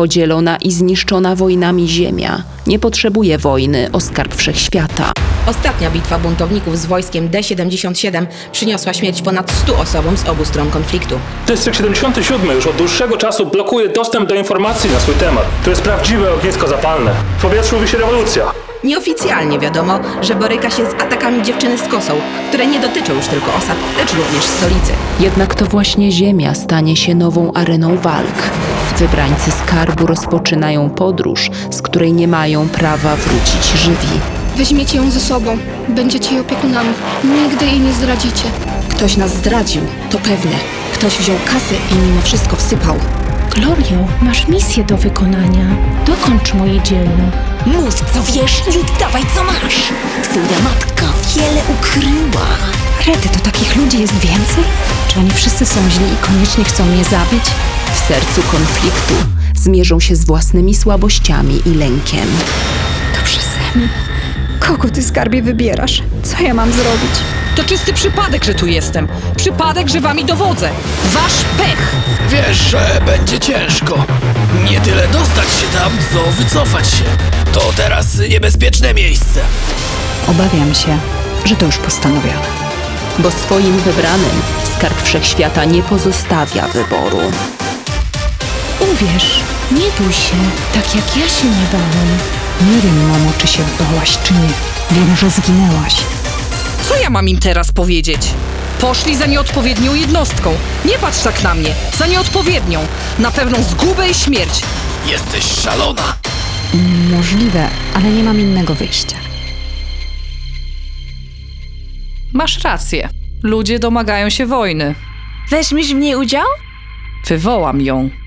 Podzielona i zniszczona wojnami ziemia nie potrzebuje wojny o skarb wszechświata. Ostatnia bitwa buntowników z wojskiem D-77 przyniosła śmierć ponad 100 osobom z obu stron konfliktu. Dystrykt 77 już od dłuższego czasu blokuje dostęp do informacji na swój temat. To jest prawdziwe ognisko zapalne. W powietrzu wisi rewolucja. Nieoficjalnie wiadomo, że boryka się z atakami dziewczyny z kosą, które nie dotyczą już tylko osad, lecz również stolicy. Jednak to właśnie ziemia stanie się nową areną walk. Wybrańcy skarbu rozpoczynają podróż, z której nie mają prawa wrócić żywi. Weźmiecie ją ze sobą. Będziecie jej opiekunami. Nigdy jej nie zdradzicie. Ktoś nas zdradził, to pewne. Ktoś wziął kasę i mimo wszystko wsypał. Glorio, masz misję do wykonania. Dokończ moje dzieło. Mów co wiesz i oddawaj co masz. Twoja matka wiele ukryła. Rety, to takich ludzi jest więcej? Czy oni wszyscy są źli i koniecznie chcą mnie zabić? W sercu konfliktu zmierzą się z własnymi słabościami i lękiem. Dobrze, Semi. Kogo ty skarbie wybierasz? Co ja mam zrobić? To czysty przypadek, że tu jestem. Przypadek, że wami dowodzę. Wasz pech! Wiesz, że będzie ciężko. Nie tyle dostać się tam, co wycofać się. To teraz niebezpieczne miejsce. Obawiam się, że to już postanowione. Bo swoim wybranym skarb wszechświata nie pozostawia wyboru. Uwierz, nie bój się, tak jak ja się nie bałam. Nie wiem, mamo, czy się bałaś, czy nie. Wiem, że zginęłaś. Co ja mam im teraz powiedzieć? Poszli za nieodpowiednią jednostką. Nie patrz tak na mnie. Za nieodpowiednią. Na pewną zgubę i śmierć. Jesteś szalona. Możliwe, ale nie mam innego wyjścia. Masz rację. Ludzie domagają się wojny. Weźmiesz w niej udział? Wywołam ją.